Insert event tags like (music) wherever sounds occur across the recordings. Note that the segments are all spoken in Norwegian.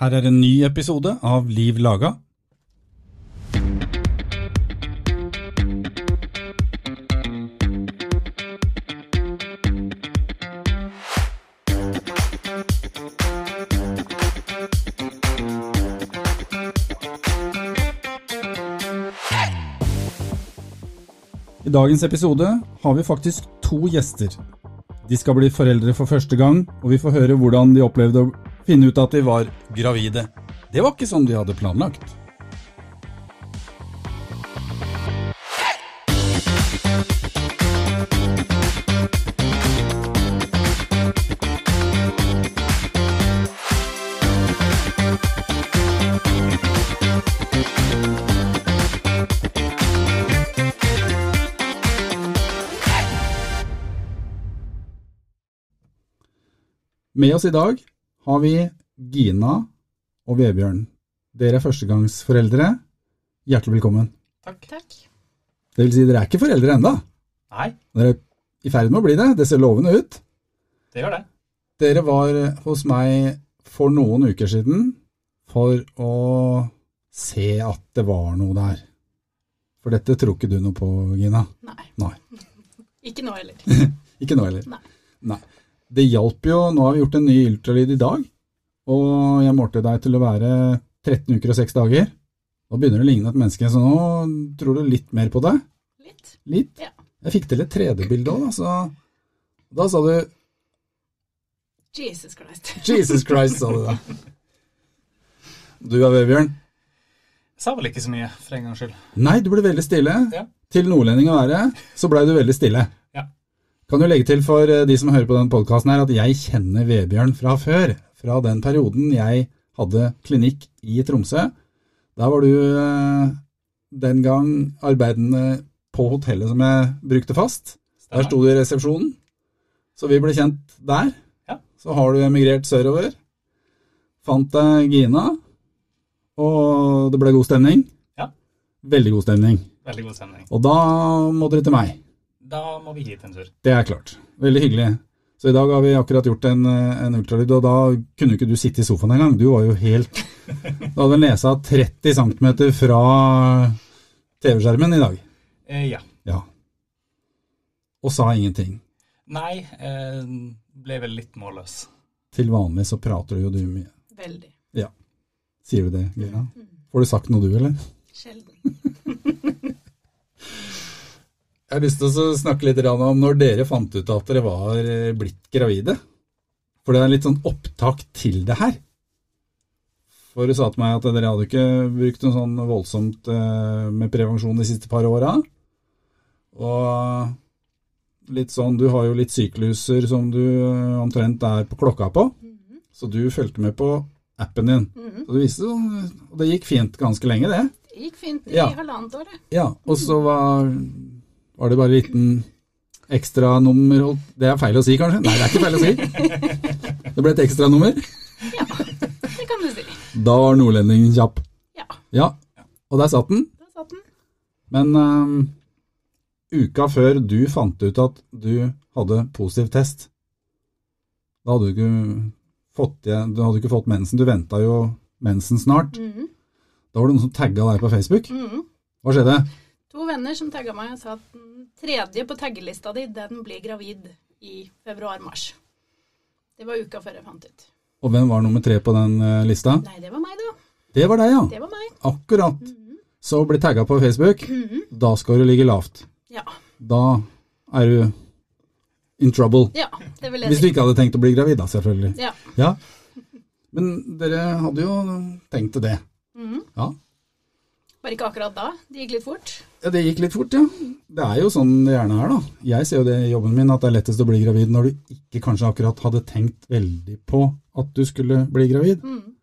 Her er en ny episode av Liv laga. I dagens episode har vi faktisk to gjester. De skal bli foreldre for første gang, og vi får høre hvordan de opplevde å finne ut at de var gravide. Det var ikke sånn de hadde planlagt. Med oss i dag har vi Gina og Vebjørn. Dere er førstegangsforeldre. Hjertelig velkommen. Takk. Det vil si, dere er ikke foreldre enda. Nei, Dere er i ferd med å bli det. Det ser lovende ut. det gjør det. Dere var hos meg for noen uker siden for å se at det var noe der. For dette tror ikke du noe på, Gina. Nei. Nei. (laughs) Ikke nå heller. Ikke nå heller. Nei. Nei. Det hjalp jo, nå har vi gjort en ny ultralyd i dag, og jeg målte deg til å være 13 uker og 6 dager. Da begynner du å ligne et menneske, så nå tror du litt mer på deg. Litt. Litt. Ja. Jeg fikk til et 3D-bilde òg, da, så da sa du Jesus Christ. Jesus Christ, sa du da. Du da, Vebjørn? Jeg sa vel ikke så mye, for en gangs skyld. Nei, du ble veldig stille. Ja. Til nordlending å være, så blei du veldig stille. Ja. Kan du legge til for eh, de som hører på den podkasten her, at jeg kjenner Vebjørn fra før. Fra den perioden jeg hadde klinikk i Tromsø. Der var du eh, den gang arbeidende på hotellet som jeg brukte fast. Der sto du i resepsjonen. Så vi ble kjent der. Ja. Så har du emigrert sørover. Fant deg Gina, og det ble god stemning. Ja. Veldig god stemning. Veldig god stemning. Og da må dere til meg. Da må vi hit en tur. Det er klart. Veldig hyggelig. Så i dag har vi akkurat gjort en, eh, en ultralyd, og da kunne ikke du sitte i sofaen engang. Du var jo helt (laughs) Du hadde nesa 30 cm fra TV-skjermen i dag. Eh, ja. Ja. Og sa ingenting. Nei, eh, ble vel litt målløs. Til vanlig så prater jo du mye. Veldig. Mm. Sier du det, Gina? Får du sagt noe, du, eller? Sjelden. Jeg har lyst til å snakke litt grann om når dere fant ut at dere var eh, blitt gravide. For det er litt sånn opptak til det her. For du sa til meg at dere hadde ikke brukt noe sånn voldsomt eh, med prevensjon de siste par åra. Og litt sånn Du har jo litt sykluser som du eh, omtrent er på klokka på. Mhm. Så du fulgte med på appen din. Mhm. Og det, viste, sånn- og det gikk fint ganske lenge, det. Det gikk fint i Ja. halvannet år, det. Ja, og så var, var det bare en liten ekstranummer og- Det er feil å si, kanskje? Nei, det er ikke feil å si. Det ble et ekstranummer. Det kan du si. Da var nordlendingen kjapp. Ja. Ja, og der satt den. Da satt den. Men ehm, uka før du fant ut at du hadde positiv test, da hadde du ikke fått, igjen- du hadde ikke fått mensen. Du venta jo mensen snart. Mhm. Da var det noen som tagga deg på Facebook. Mhm. Hva skjedde? To venner som tagga meg, sa at den tredje på taggelista di, den blir gravid i februar-mars. Det var uka før jeg fant ut. Og hvem var nummer tre på den eh, lista? Nei, det var meg, da. Det var deg, ja. Det var meg. Mm-hmm. Akkurat. Så bli tagga på Facebook. Mhm. Da skal du ligge lavt. Ja. Da er du in trouble. Ja, det vil jeg Hvis du si. ikke hadde tenkt å bli gravid, da, selvfølgelig. Ja. Ja. Men dere hadde jo tenkt til det. Mhm. Ja. Bare ikke akkurat da. Det gikk litt fort. Ja, Det gikk litt fort, ja. Det er jo sånn det gjerne er, da. Jeg ser jo det i jobben min, at det er lettest å bli gravid når du ikke kanskje akkurat hadde tenkt veldig på at du skulle bli gravid. Mhm.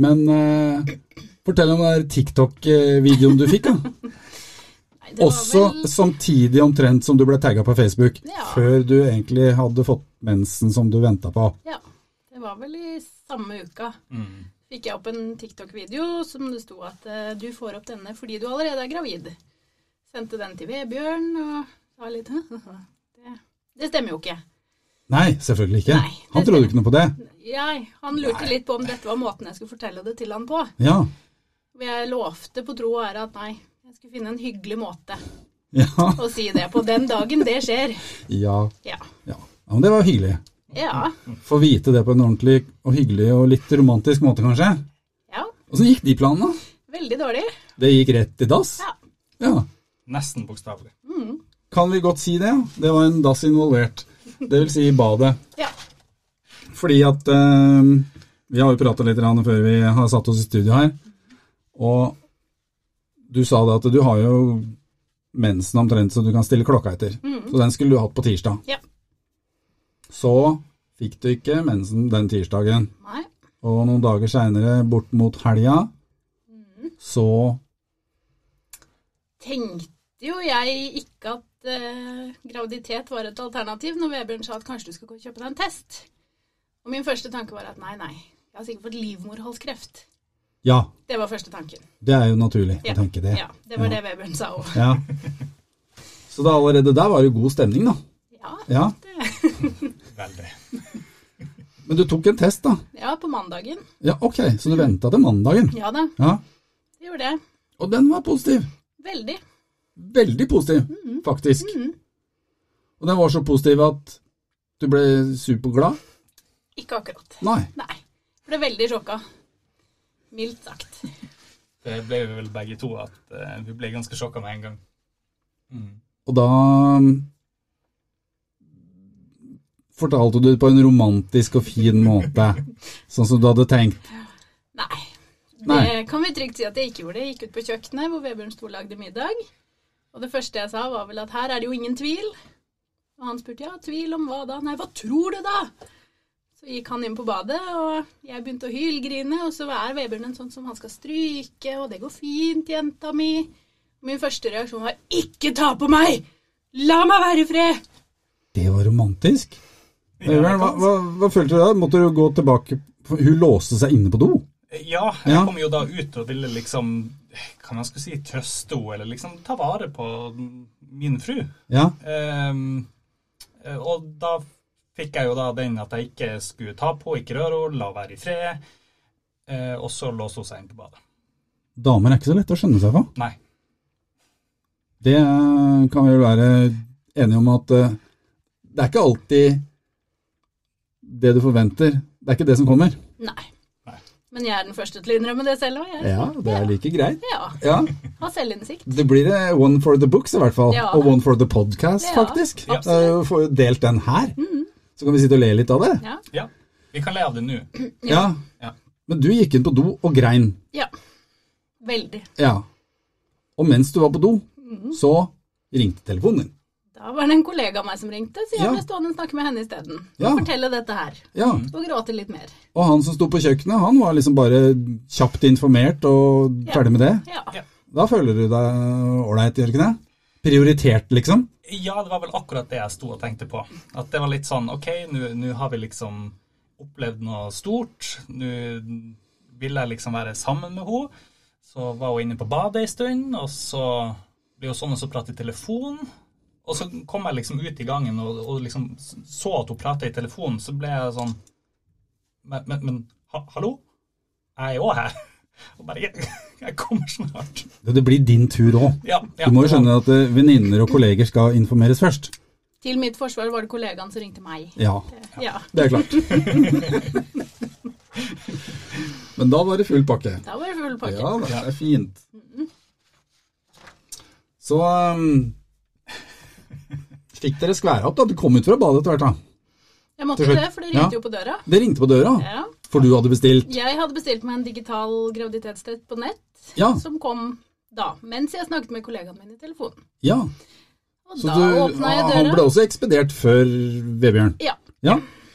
Men eh, fortell om den der TikTok-videoen du fikk, da. Nei, det var Også vel- samtidig omtrent som du ble tagga på Facebook, Ja. før du egentlig hadde fått mensen som du venta på. Ja, det var vel i samme uka. Mm. Fikk jeg opp en TikTok-video som det sto at eh, du får opp denne fordi du allerede er gravid. Sendte den til Vebjørn og sa litt (laughs) Det, det stemmer jo ikke. Nei, selvfølgelig ikke. Nei, det Han trodde ikke noe på det. Jeg, han lurte litt på om dette var måten jeg skulle fortelle det til han på. Ja. Og jeg lovte på tro og ære at nei, jeg skulle finne en hyggelig måte (laughs) Ja. å si det på den dagen det skjer. Ja. Ja. ja. ja men det var hyggelig. Ja. Få vite det på en ordentlig og hyggelig og litt romantisk måte, kanskje. ja. Åssen gikk de planene? Veldig dårlig. Det gikk rett i dass? Ja. Ja. Nesten bokstavelig. Kan vi godt si det? Det var en dass involvert. Det vil si badet. Ja. Fordi at eh, Vi har jo prata litt grann før vi har satt oss i studio her. Og du sa det at du har jo mensen omtrent så du kan stille klokka etter. Mm. Så den skulle du hatt på tirsdag. Ja. Så fikk du ikke mensen den tirsdagen. Nei. Og noen dager seinere, bort mot helga, Mm. så Tenkte jo jeg ikke at eh, graviditet var et alternativ når Vebjørn sa at kanskje du skal gå og kjøpe deg en test. Og min første tanke var at nei, nei, jeg har sikkert fått livmorhalskreft. Ja, Det var første tanken. det er jo naturlig Ja. å tenke det. Ja, det var Ja. det Vebjørn sa òg. Ja. Så da allerede der var det god stemning, da. Ja, eh, Ja. Veldig. Men du tok en test, da. ja, på mandagen. Ja, ok, Så du venta til mandagen. Ja da, Ja. det gjorde jeg. Og den var positiv. Veldig. Veldig positiv, faktisk. Og den var så positiv at du ble superglad? Ikke akkurat. Nei. Nei. Ble veldig sjokka. Mildt sagt. Det ble vi vel begge to at eh, vi ble ganske sjokka med en gang. Mm. Og da mm, fortalte du det på en romantisk og fin måte, sånn som du hadde tenkt. Nei. Nei. Det kan vi trygt si at jeg ikke gjorde. Jeg gikk ut på kjøkkenet hvor Vebjørn sto og lagde middag. Og det første jeg sa, var vel at her er det jo ingen tvil. Og han spurte ja, tvil om hva da? Nei, hva tror du da? Så gikk han inn på badet, og jeg begynte å hylgrine. Og så er Vebjørn en sånn som han skal stryke, og det går fint, jenta mi. Min første reaksjon var ikke ta på meg! La meg være i fred! Det var romantisk. Ja, Øyvind, hva, hva, hva følte du da? Måtte du gå tilbake Hun låste seg inne på do? Ja, jeg Ja. kom jo da ut og ville liksom Hva man skulle si, trøste henne, eller liksom ta vare på min fru. Ja. Ehm, eh, og da fikk jeg jo da den at jeg ikke skulle ta på, ikke røre henne, la være i fred. Eh, og så låste hun seg inn på badet. Damer er ikke så lette å skjønne seg på. Nei. Det eh, kan vi vel være enige om at eh, det er ikke alltid det du forventer. Det er ikke det som kommer. Nei. Nei. Men jeg er den første til å innrømme det selv òg, jeg. Ja, det er like greit. Ja. Ja, Ha selvinnsikt. Det blir eh, one for the books i hvert fall, Ja. og one for the podcast Ja, Mm-hmm. faktisk. absolutt. Da får vi delt den her, så kan vi sitte og le litt av det. Ja. Ja, vi kan le av det nå. Ja. Ja. Men du gikk inn på do og grein. Ja. Veldig. Ja. Og mens du var på do, Mm-hmm. så ringte telefonen din. Da var det en kollega av meg som ringte, så jeg Ja. ble stående og snakke med henne isteden. Og Ja. fortelle dette her. Ja, Og gråte litt mer. Og han som sto på kjøkkenet, han var liksom bare kjapt informert og Ja. ferdig med det. Ja. Ja. Da føler du deg ålreit, gjør du ikke det? Prioritert, liksom? Ja, det var vel akkurat det jeg sto og tenkte på. At det var litt sånn OK, nå nå har vi liksom opplevd noe stort. Nå vil jeg liksom være sammen med henne. Så var hun inne på badet ei stund, og så blir hun sånn og så prater i telefon. Og så kom jeg liksom ut i gangen og, og liksom så at hun prater i telefon, så ble jeg sånn Men, men, men ha, hallo? Jeg er òg her. (laughs) Og bare Jeg, jeg kommer snart. Det det blir din tur òg. Ja, ja, Du må jo skjønne at eh, venninner og kolleger skal informeres først. Til mitt forsvar var det kollegaen som ringte meg. Ja, Ja. det er klart. (laughs) Men da var det full pakke. Da var det full pakke. Ja, det er fint. Så um, (laughs) fikk dere skværa opp da. Du kom ut fra badet etter hvert, da. Jeg måtte Til jo slutt. det, for det ringte Ja. jo på døra. Det ringte på døra, Ja. for du hadde bestilt. Jeg hadde bestilt meg en digital graviditetstest på nett, Ja, som kom da, mens jeg snakket med kollegaen min i telefonen. ja. Og Så da du, ah, åpna jeg han ble døra. også ekspedert før Vebjørn. Ja. Ja,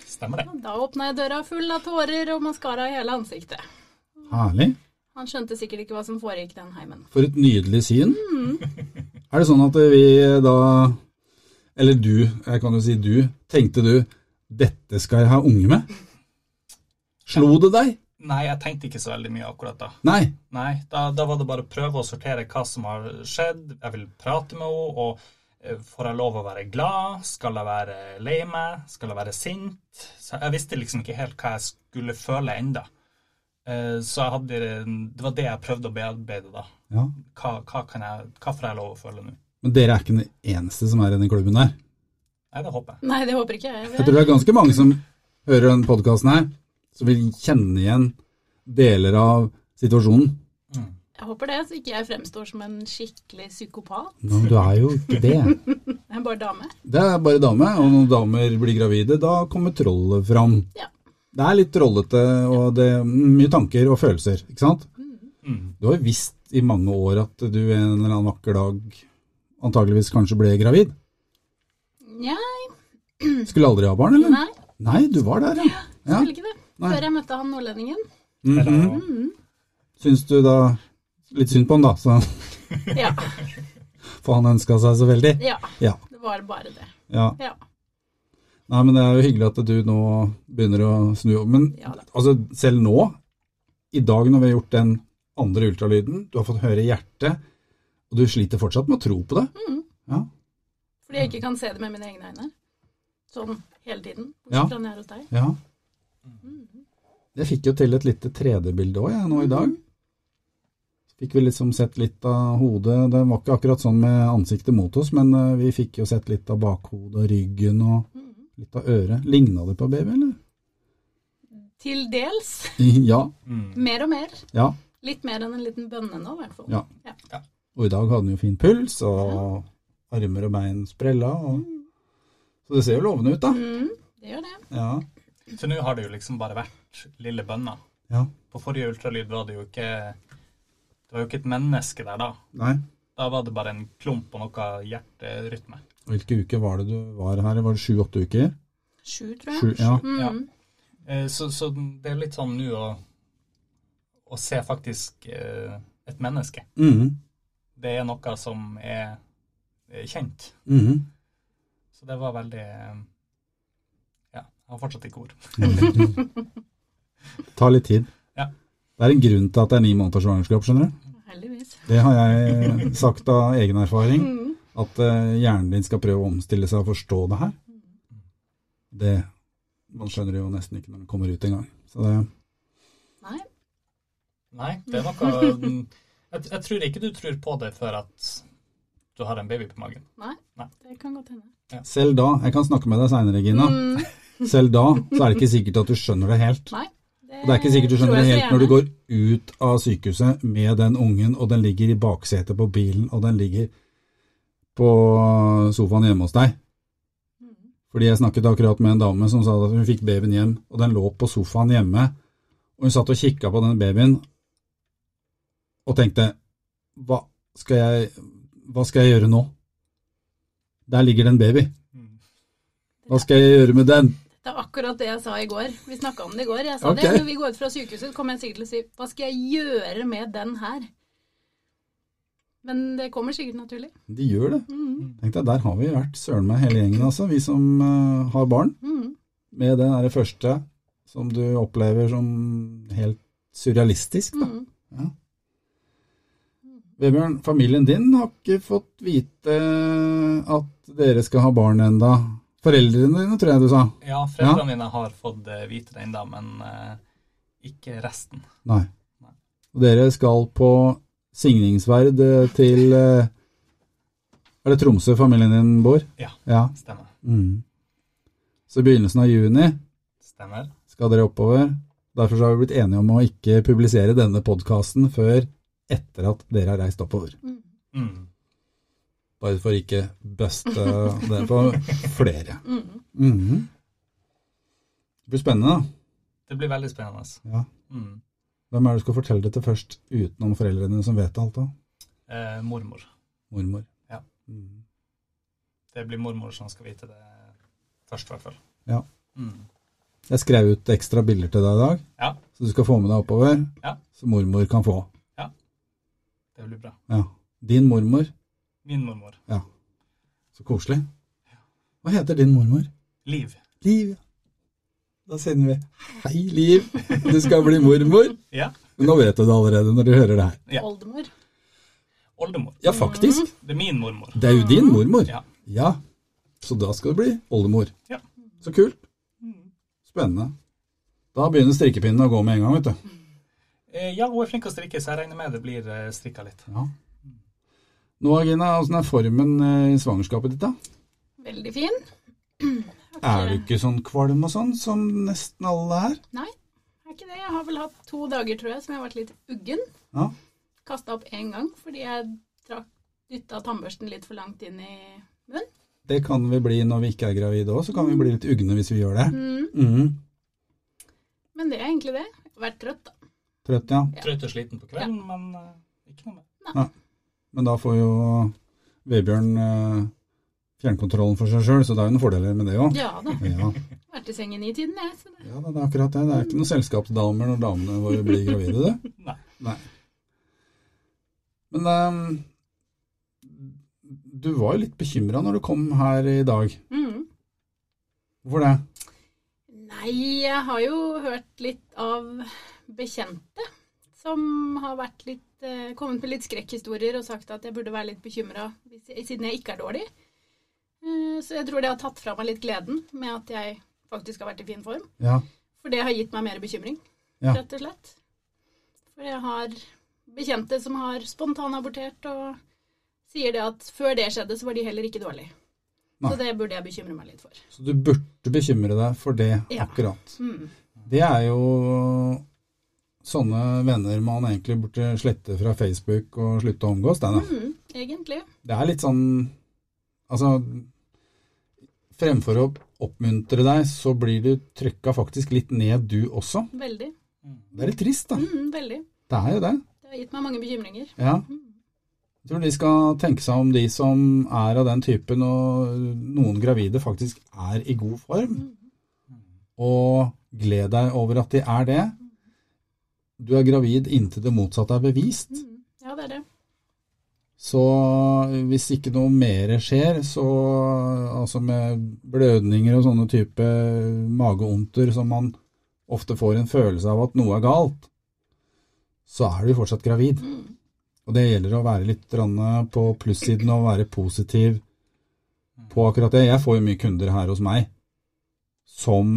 Stemmer det. Da åpna jeg døra full av tårer og maskara i hele ansiktet. herlig. Han skjønte sikkert ikke hva som foregikk den heimen. For et nydelig syn. Er det sånn at vi da Eller du, jeg kan jo si du. Tenkte du 'dette skal jeg ha unge med'? Slo det deg? Nei, jeg tenkte ikke så veldig mye akkurat da. Nei. Nei, da, da var det bare å prøve å sortere hva som har skjedd. Jeg vil prate med henne, og eh, Får jeg lov å være glad? Skal jeg være lei meg? Skal jeg være sint? Så jeg visste liksom ikke helt hva jeg skulle føle enda. Eh, Så jeg hadde, det var det jeg prøvde å bearbeide da. Ja. Hva, hva, kan jeg, hva får jeg lov å føle nå? Men dere er ikke den eneste som er i den klubben der. Nei, det håper jeg. Nei, det håper ikke jeg. Jeg tror det er ganske mange som hører den podkasten her, som vil kjenne igjen deler av situasjonen. Jeg håper det, så ikke jeg fremstår som en skikkelig psykopat. Men du er jo ikke det. Jeg er bare dame. Det er bare dame, og når damer blir gravide, da kommer trollet fram. Ja. Det er litt trollete, og det er mye tanker og følelser, ikke sant? Mm. Du har jo visst i mange år at du en eller annen vakker dag antageligvis kanskje ble gravid. Nja, Skulle aldri ha barn, eller? nei, Nei, du var der, ja. Mm. ja. skulle ikke det. Nei. Før jeg møtte han nordlendingen. Mhm. Syns du da litt synd på han, da, så, Ja, for han ønska seg så veldig. ja, Ja, det var bare det. ja. Ja, Nei, men det er jo hyggelig at du nå begynner å snu om. Men Ja da. altså, selv nå, i dag når vi har gjort den andre ultralyden, du har fått høre hjertet, og du sliter fortsatt med å tro på det. fordi jeg ikke kan se det med mine egne øyne. Sånn hele tiden, Ja. bortsett fra når jeg er hos deg. Ja. Mm-hmm. Jeg fikk jo til et lite 3D-bilde òg, jeg, nå i dag. Fikk vi liksom sett litt av hodet. Det var ikke akkurat sånn med ansiktet mot oss, men eh, vi fikk jo sett litt av bakhodet og ryggen og Mhm. litt av øret. Ligna det på baby, eller? Til dels, (laughs) Ja. Mm. mer og mer. Ja. Litt mer enn en liten bønne nå, i hvert fall. Ja. Og i dag hadde den jo fin puls, og armer og bein sprella. Og... Så det ser jo lovende ut, da. Mhm, det gjør det. Ja. Så nå har det jo liksom bare vært lille bønna. ja. På forrige ultralyd var det jo ikke Det var jo ikke et menneske der da. Nei. Da var det bare en klump og noe hjerterytme. Hvilke uker var det du var her? Var det sju-åtte uker? Sju, tror jeg. Sju, ja. Ja. Mhm. Eh, Så, så det er litt sånn nå å, å se faktisk eh, et menneske. Mhm. Det er noe som er eh, kjent. Mhm. Så det var veldig eh, Ja, jeg har fortsatt ikke ord. Ta litt tid. Ja. Det er en grunn til at det er ni måneder svangerskap, skjønner du. Heldigvis. Det har jeg eh, sagt av egen erfaring, Mhm. at eh, hjernen din skal prøve å omstille seg og forstå det her. Mm. Det Man skjønner det jo nesten ikke når den kommer ut engang. Så det Nei. Nei, det er noe mm, jeg, jeg tror ikke du tror på det før at du har en baby på magen. Nei, Nei. det kan godt hende. Selv da Jeg kan snakke med deg seinere, Regina. Mm, Selv da så er det ikke sikkert at du skjønner det helt. nei. Og Det er ikke sikkert du skjønner tror det jeg helt når du så går ut av sykehuset med den ungen, og den ligger i baksetet på bilen, og den ligger på sofaen hjemme hos deg. gjerne. Mhm. Fordi jeg snakket akkurat med en dame som sa at hun fikk babyen hjem, og den lå på sofaen hjemme, og hun satt og kikka på den babyen og tenkte hva skal, jeg, hva skal jeg gjøre nå? Der ligger det en baby. Hva skal jeg gjøre med den? Det er akkurat det jeg sa i går. Vi snakka om det i går. Jeg sa Ok. det. Når vi går ut fra sykehuset, kommer jeg sikkert til å si Hva skal jeg gjøre med den her? Men det kommer sikkert naturlig. De gjør det. Mhm. Tenk deg, der har vi vært søren meg hele gjengen, altså, vi som eh, har barn. Mhm. med den er det første som du opplever som helt surrealistisk. Da. Mhm. Vebjørn, familien din har ikke fått vite at dere skal ha barn enda. Foreldrene dine, tror jeg du sa. Ja, foreldrene mine har fått eh, vite det ennå, men eh, ikke resten. Nei. Nei. Og dere skal på signingsverd eh, til eh, Er det Tromsø familien din bor? Ja. ja. Stemmer. Mm. Så i begynnelsen av juni Stemmer. skal dere oppover. Derfor så har vi blitt enige om å ikke publisere denne podkasten før etter at dere har reist oppover. Mhm. Mm. Bare for ikke buste det på flere. Mhm. Mhm. Det blir spennende, da. Det blir veldig spennende. Ja. Mm. Hvem er det du skal fortelle det til først, utenom foreldrene som vet alt, da? Eh, mormor. Mormor. Ja. Mhm. Det blir mormor som skal vite det først, i hvert fall. Ja. Mm. Jeg skrev ut ekstra bilder til deg i dag, Ja. så du skal få med deg oppover. Ja. Så mormor kan få. Det blir bra. Ja. Din mormor. Min mormor. Så koselig. Hva heter din mormor? Liv. Liv. Da sender vi Hei, Liv. Du skal bli mormor. Ja. Nå vet du det allerede når du hører det her. Ja. Oldemor. Oldemor. Ja, faktisk. Det er min mormor. Det er jo din mormor. Ja. Ja, så da skal du bli oldemor. Ja. Så kult. Spennende. Da begynner strikkepinnen å gå med en gang, vet du. Eh, Ja, hun er flink å strikke, så jeg regner med det blir eh, strikka litt. Ja. Nå, Gina, åssen er formen eh, i svangerskapet ditt, da? Veldig fin. Er du ikke sånn kvalm og sånn som nesten alle er? Nei, er ikke det. Jeg har vel hatt to dager, tror jeg, som jeg har vært litt uggen. Ja. Kasta opp én gang fordi jeg trakk dytta tannbørsten litt for langt inn i munnen. Det kan vi bli når vi ikke er gravide òg, så kan vi bli litt ugne hvis vi gjør det. Mm, Mhm. men det er egentlig det. Jeg har vært trøtt, da. Trøtt, ja. Ja. Trøtt og sliten på kvelden, men eh, ikke noe mer. Men da får jo Vebjørn eh, fjernkontrollen for seg sjøl, så det er jo noen fordeler med det òg. Ja da. Ja. Vært i sengen i tiden, jeg. Så det. ja, det er akkurat det. Det er ikke noen selskapsdamer når damene våre blir gravide, du. Nei. Men ehm, du var jo litt bekymra når du kom her i dag. Mm. Hvorfor det? Nei, jeg har jo hørt litt av bekjente som har vært litt, eh, kommet med litt skrekkhistorier og sagt at jeg burde være litt bekymra siden jeg ikke er dårlig. Eh, så jeg tror det har tatt fra meg litt gleden med at jeg faktisk har vært i fin form. Ja. For det har gitt meg mer bekymring, Ja. rett og slett. For jeg har bekjente som har spontanabortert og sier det at før det skjedde, så var de heller ikke dårlige. Nei. Så det burde jeg bekymre meg litt for. Så du burde bekymre deg for det Ja. akkurat. Mm. Det er jo sånne venner man egentlig burde slette fra Facebook og slutte å omgås, det da. Mm, egentlig. Det er litt sånn Altså Fremfor å oppmuntre deg, så blir du trykka faktisk litt ned, du også. Veldig. Det er litt trist, da. Mm, veldig. Det er jo det. Det har gitt meg mange bekymringer. Ja. Mm. Jeg tror de skal tenke seg om, de som er av den typen, og noen gravide faktisk er i god form. Og gled deg over at de er det. Du er gravid inntil det motsatte er bevist. Mm. Ja, det er det. Så eh, hvis ikke noe mer skjer, så altså med blødninger og sånne type mageondter som man ofte får en følelse av at noe er galt, så er du fortsatt gravid. Mm. Og det gjelder å være litt grann eh, på plussiden og være positiv på akkurat det. Jeg får jo mye kunder her hos meg som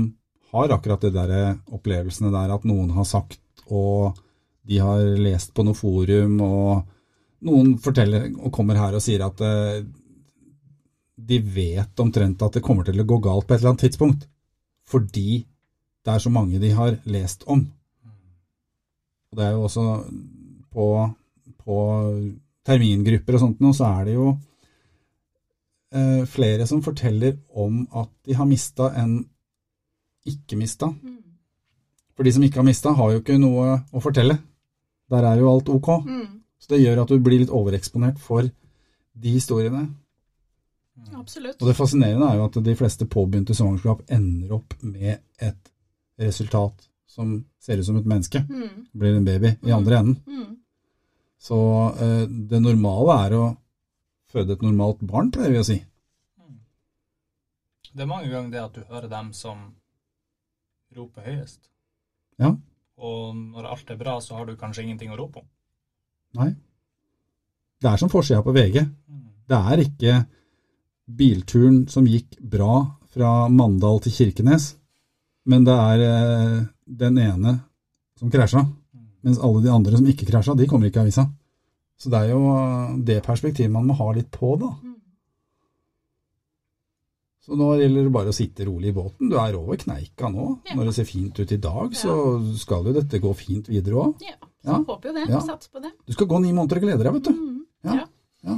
har akkurat det der eh, opplevelsene der at noen har sagt, og de har lest på noe forum, og noen forteller og kommer her og sier at eh, de vet omtrent at det kommer til å gå galt på et eller annet tidspunkt, fordi det er så mange de har lest om. Og det er jo også på, på termingrupper og sånt nå, så er det jo eh, flere som forteller om at de har mista enn ikke mista. Mm. For de som ikke har mista, har jo ikke noe å fortelle. Der er jo alt ok. Mm. Så det gjør at du blir litt overeksponert for de historiene. Absolutt. Og det fascinerende er jo at de fleste påbegynte svangerskap ender opp med et resultat som ser ut som et menneske. Mm. Blir en baby i andre enden. Mm. Så eh, det normale er å føde et normalt barn, pleier vi å si. Det er mange ganger det at du hører dem som roper høyest. Ja. Og når alt er bra, så har du kanskje ingenting å rope om. Det er som forsida på VG. Mm. Det er ikke bilturen som gikk bra fra Mandal til Kirkenes, men det er eh, den ene som krasja. Mens alle de andre som ikke krasja, de kommer ikke i avisa. Så det er jo eh, det perspektivet man må ha litt på, da. Mm. Så nå gjelder det bare å sitte rolig i båten. Du er over kneika nå. Ja. Når det ser fint ut i dag, så skal jo dette gå fint videre òg. Ja. Så Ja. håper jo det. Ja. Satser på det. Du skal gå ni måneder og glede deg, vet du. Mm. Ja. Ja.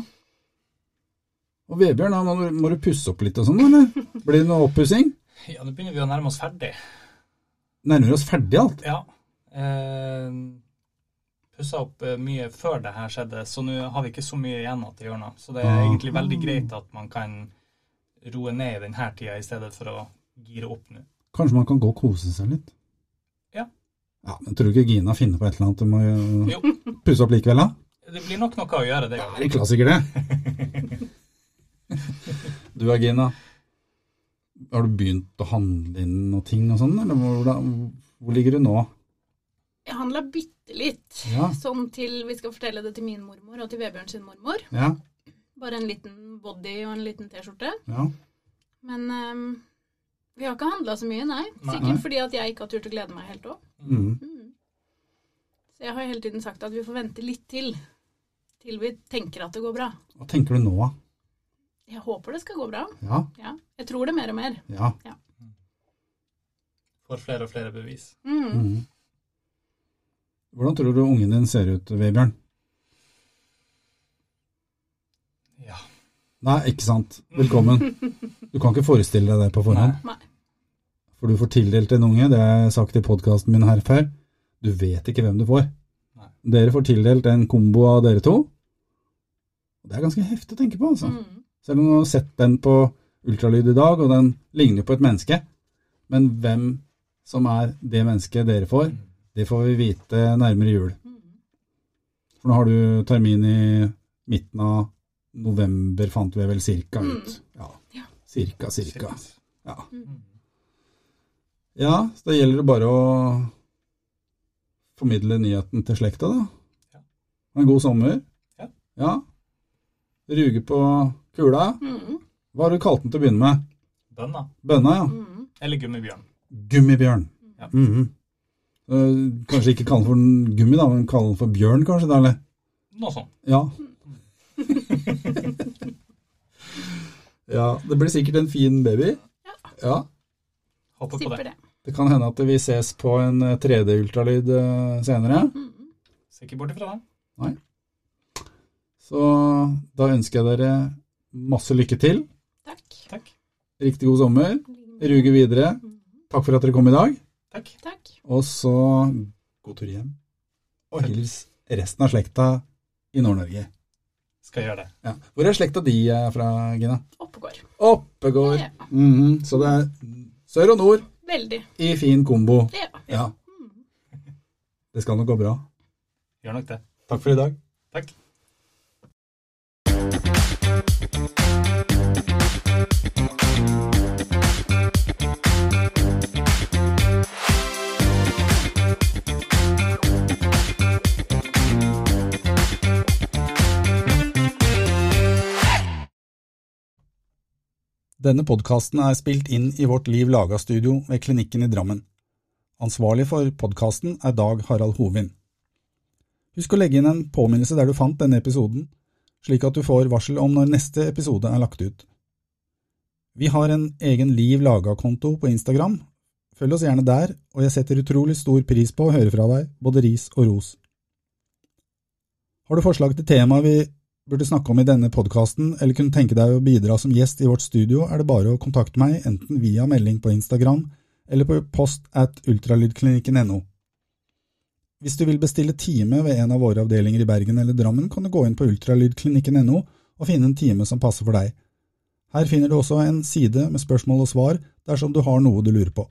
Og Vebjørn, da må du- må du pusse opp litt og sånn, eller? Blir det noe oppussing? Ja, nå begynner vi å nærme oss ferdig. Nærmer vi oss ferdig alt? Ja. Eh, Pussa opp eh, mye før det her skjedde, så nå har vi ikke så mye igjen at det gjør noe. Så det er Ah. egentlig veldig greit at man kan roe ned i denne tida i stedet for å gire opp nå. Kanskje man kan gå og kose seg litt? Ja. Ja, Men tror du ikke Gina finner på et eller annet du må Jo. eh, pusse opp likevel, da? Det blir nok noe å gjøre, det. Det er en klassiker, det. (laughs) Du da, Gina? Har du begynt å handle inn noe ting og sånn, eller hvordan- hvor ligger du nå? Jeg handla bitte litt. Ja. Sånn til vi skal fortelle det til min mormor og til Vebjørn sin mormor. Ja, Bare en liten body og en liten T-skjorte. Ja. Men ehm, vi har ikke handla så mye, nei. Nei. Sikkert fordi at jeg ikke har turt å glede meg helt òg. Mm. Så jeg har hele tiden sagt at vi får vente litt til. Til vi tenker at det går bra. Hva tenker du nå, da? Jeg håper det skal gå bra. Ja, Ja. Jeg tror det mer og mer. ja. Får flere og flere bevis. Mm. Mm. Hvordan tror du ungen din ser ut, Vebjørn? Ja. Nei, ikke sant. Velkommen. Du kan ikke forestille deg det på forhånd. Nei. For du får tildelt en unge, det har jeg sagt i podkasten min her før. Du vet ikke hvem du får. Nei. Dere får tildelt en kombo av dere to. Det er ganske heftig å tenke på, altså. Mm. Selv om du har sett den på ultralyd i dag, og den ligner jo på et menneske. Men hvem som er det mennesket dere får, Mm. det får vi vite nærmere jul. Mm. For nå har du termin i midten av november, fant vi vel cirka ut. Ja. Ja. Cirka, cirka. Shit. Ja. Mm. Ja, så da gjelder det bare å formidle nyheten til slekta, da. Ja. Ha En god sommer. Ja. ja. Ruge på kula. Mm. Hva har du kalt den til å begynne med? Bønna. Bønna, ja. Mm. Eller gummibjørn. Gummibjørn. Ja. Mhm. Eh, kanskje ikke kalle den for en gummi, da, men kalle den for bjørn, kanskje? da, eller? Noe sånt. Ja. ja, det blir sikkert en fin baby. ja. Håper på Tipper det. det. Det kan hende at vi ses på en 3D-ultralyd eh, senere. Mm. Ser ikke bort ifra det. Så da ønsker jeg dere masse lykke til. Takk. Takk. Riktig god sommer. Ruge videre. Takk for at dere kom i dag. Takk. Mm. Takk. Og så god tur hjem. Og hils resten av slekta i Nord-Norge. Skal gjøre det. Ja. Hvor er slekta di eh, fra, Gina? Oppegård. Oppegård. Ja. Mhm, Så det er sør og nord Veldig. i fin kombo. Ja. Ja, Mm. det skal nok gå bra. Gjør nok det. Takk for i dag. Takk. Denne podkasten er spilt inn i Vårt Liv Laga-studio ved Klinikken i Drammen. Ansvarlig for podkasten er Dag Harald Hovin. Husk å legge inn en påminnelse der du fant denne episoden, slik at du får varsel om når neste episode er lagt ut. Vi har en egen Liv Laga-konto på Instagram. Følg oss gjerne der, og jeg setter utrolig stor pris på å høre fra deg, både ris og ros. Har du forslag til temaer vi burde snakke om i denne podkasten, eller kunne tenke deg å bidra som gjest i vårt studio, er det bare å kontakte meg enten via melding på Instagram eller på post at ultralydklinikken.no. Hvis du vil bestille time ved en av våre avdelinger i Bergen eller Drammen, kan du gå inn på ultralydklinikken.no og finne en time som passer for deg. Her finner du også en side med spørsmål og svar dersom du har noe du lurer på.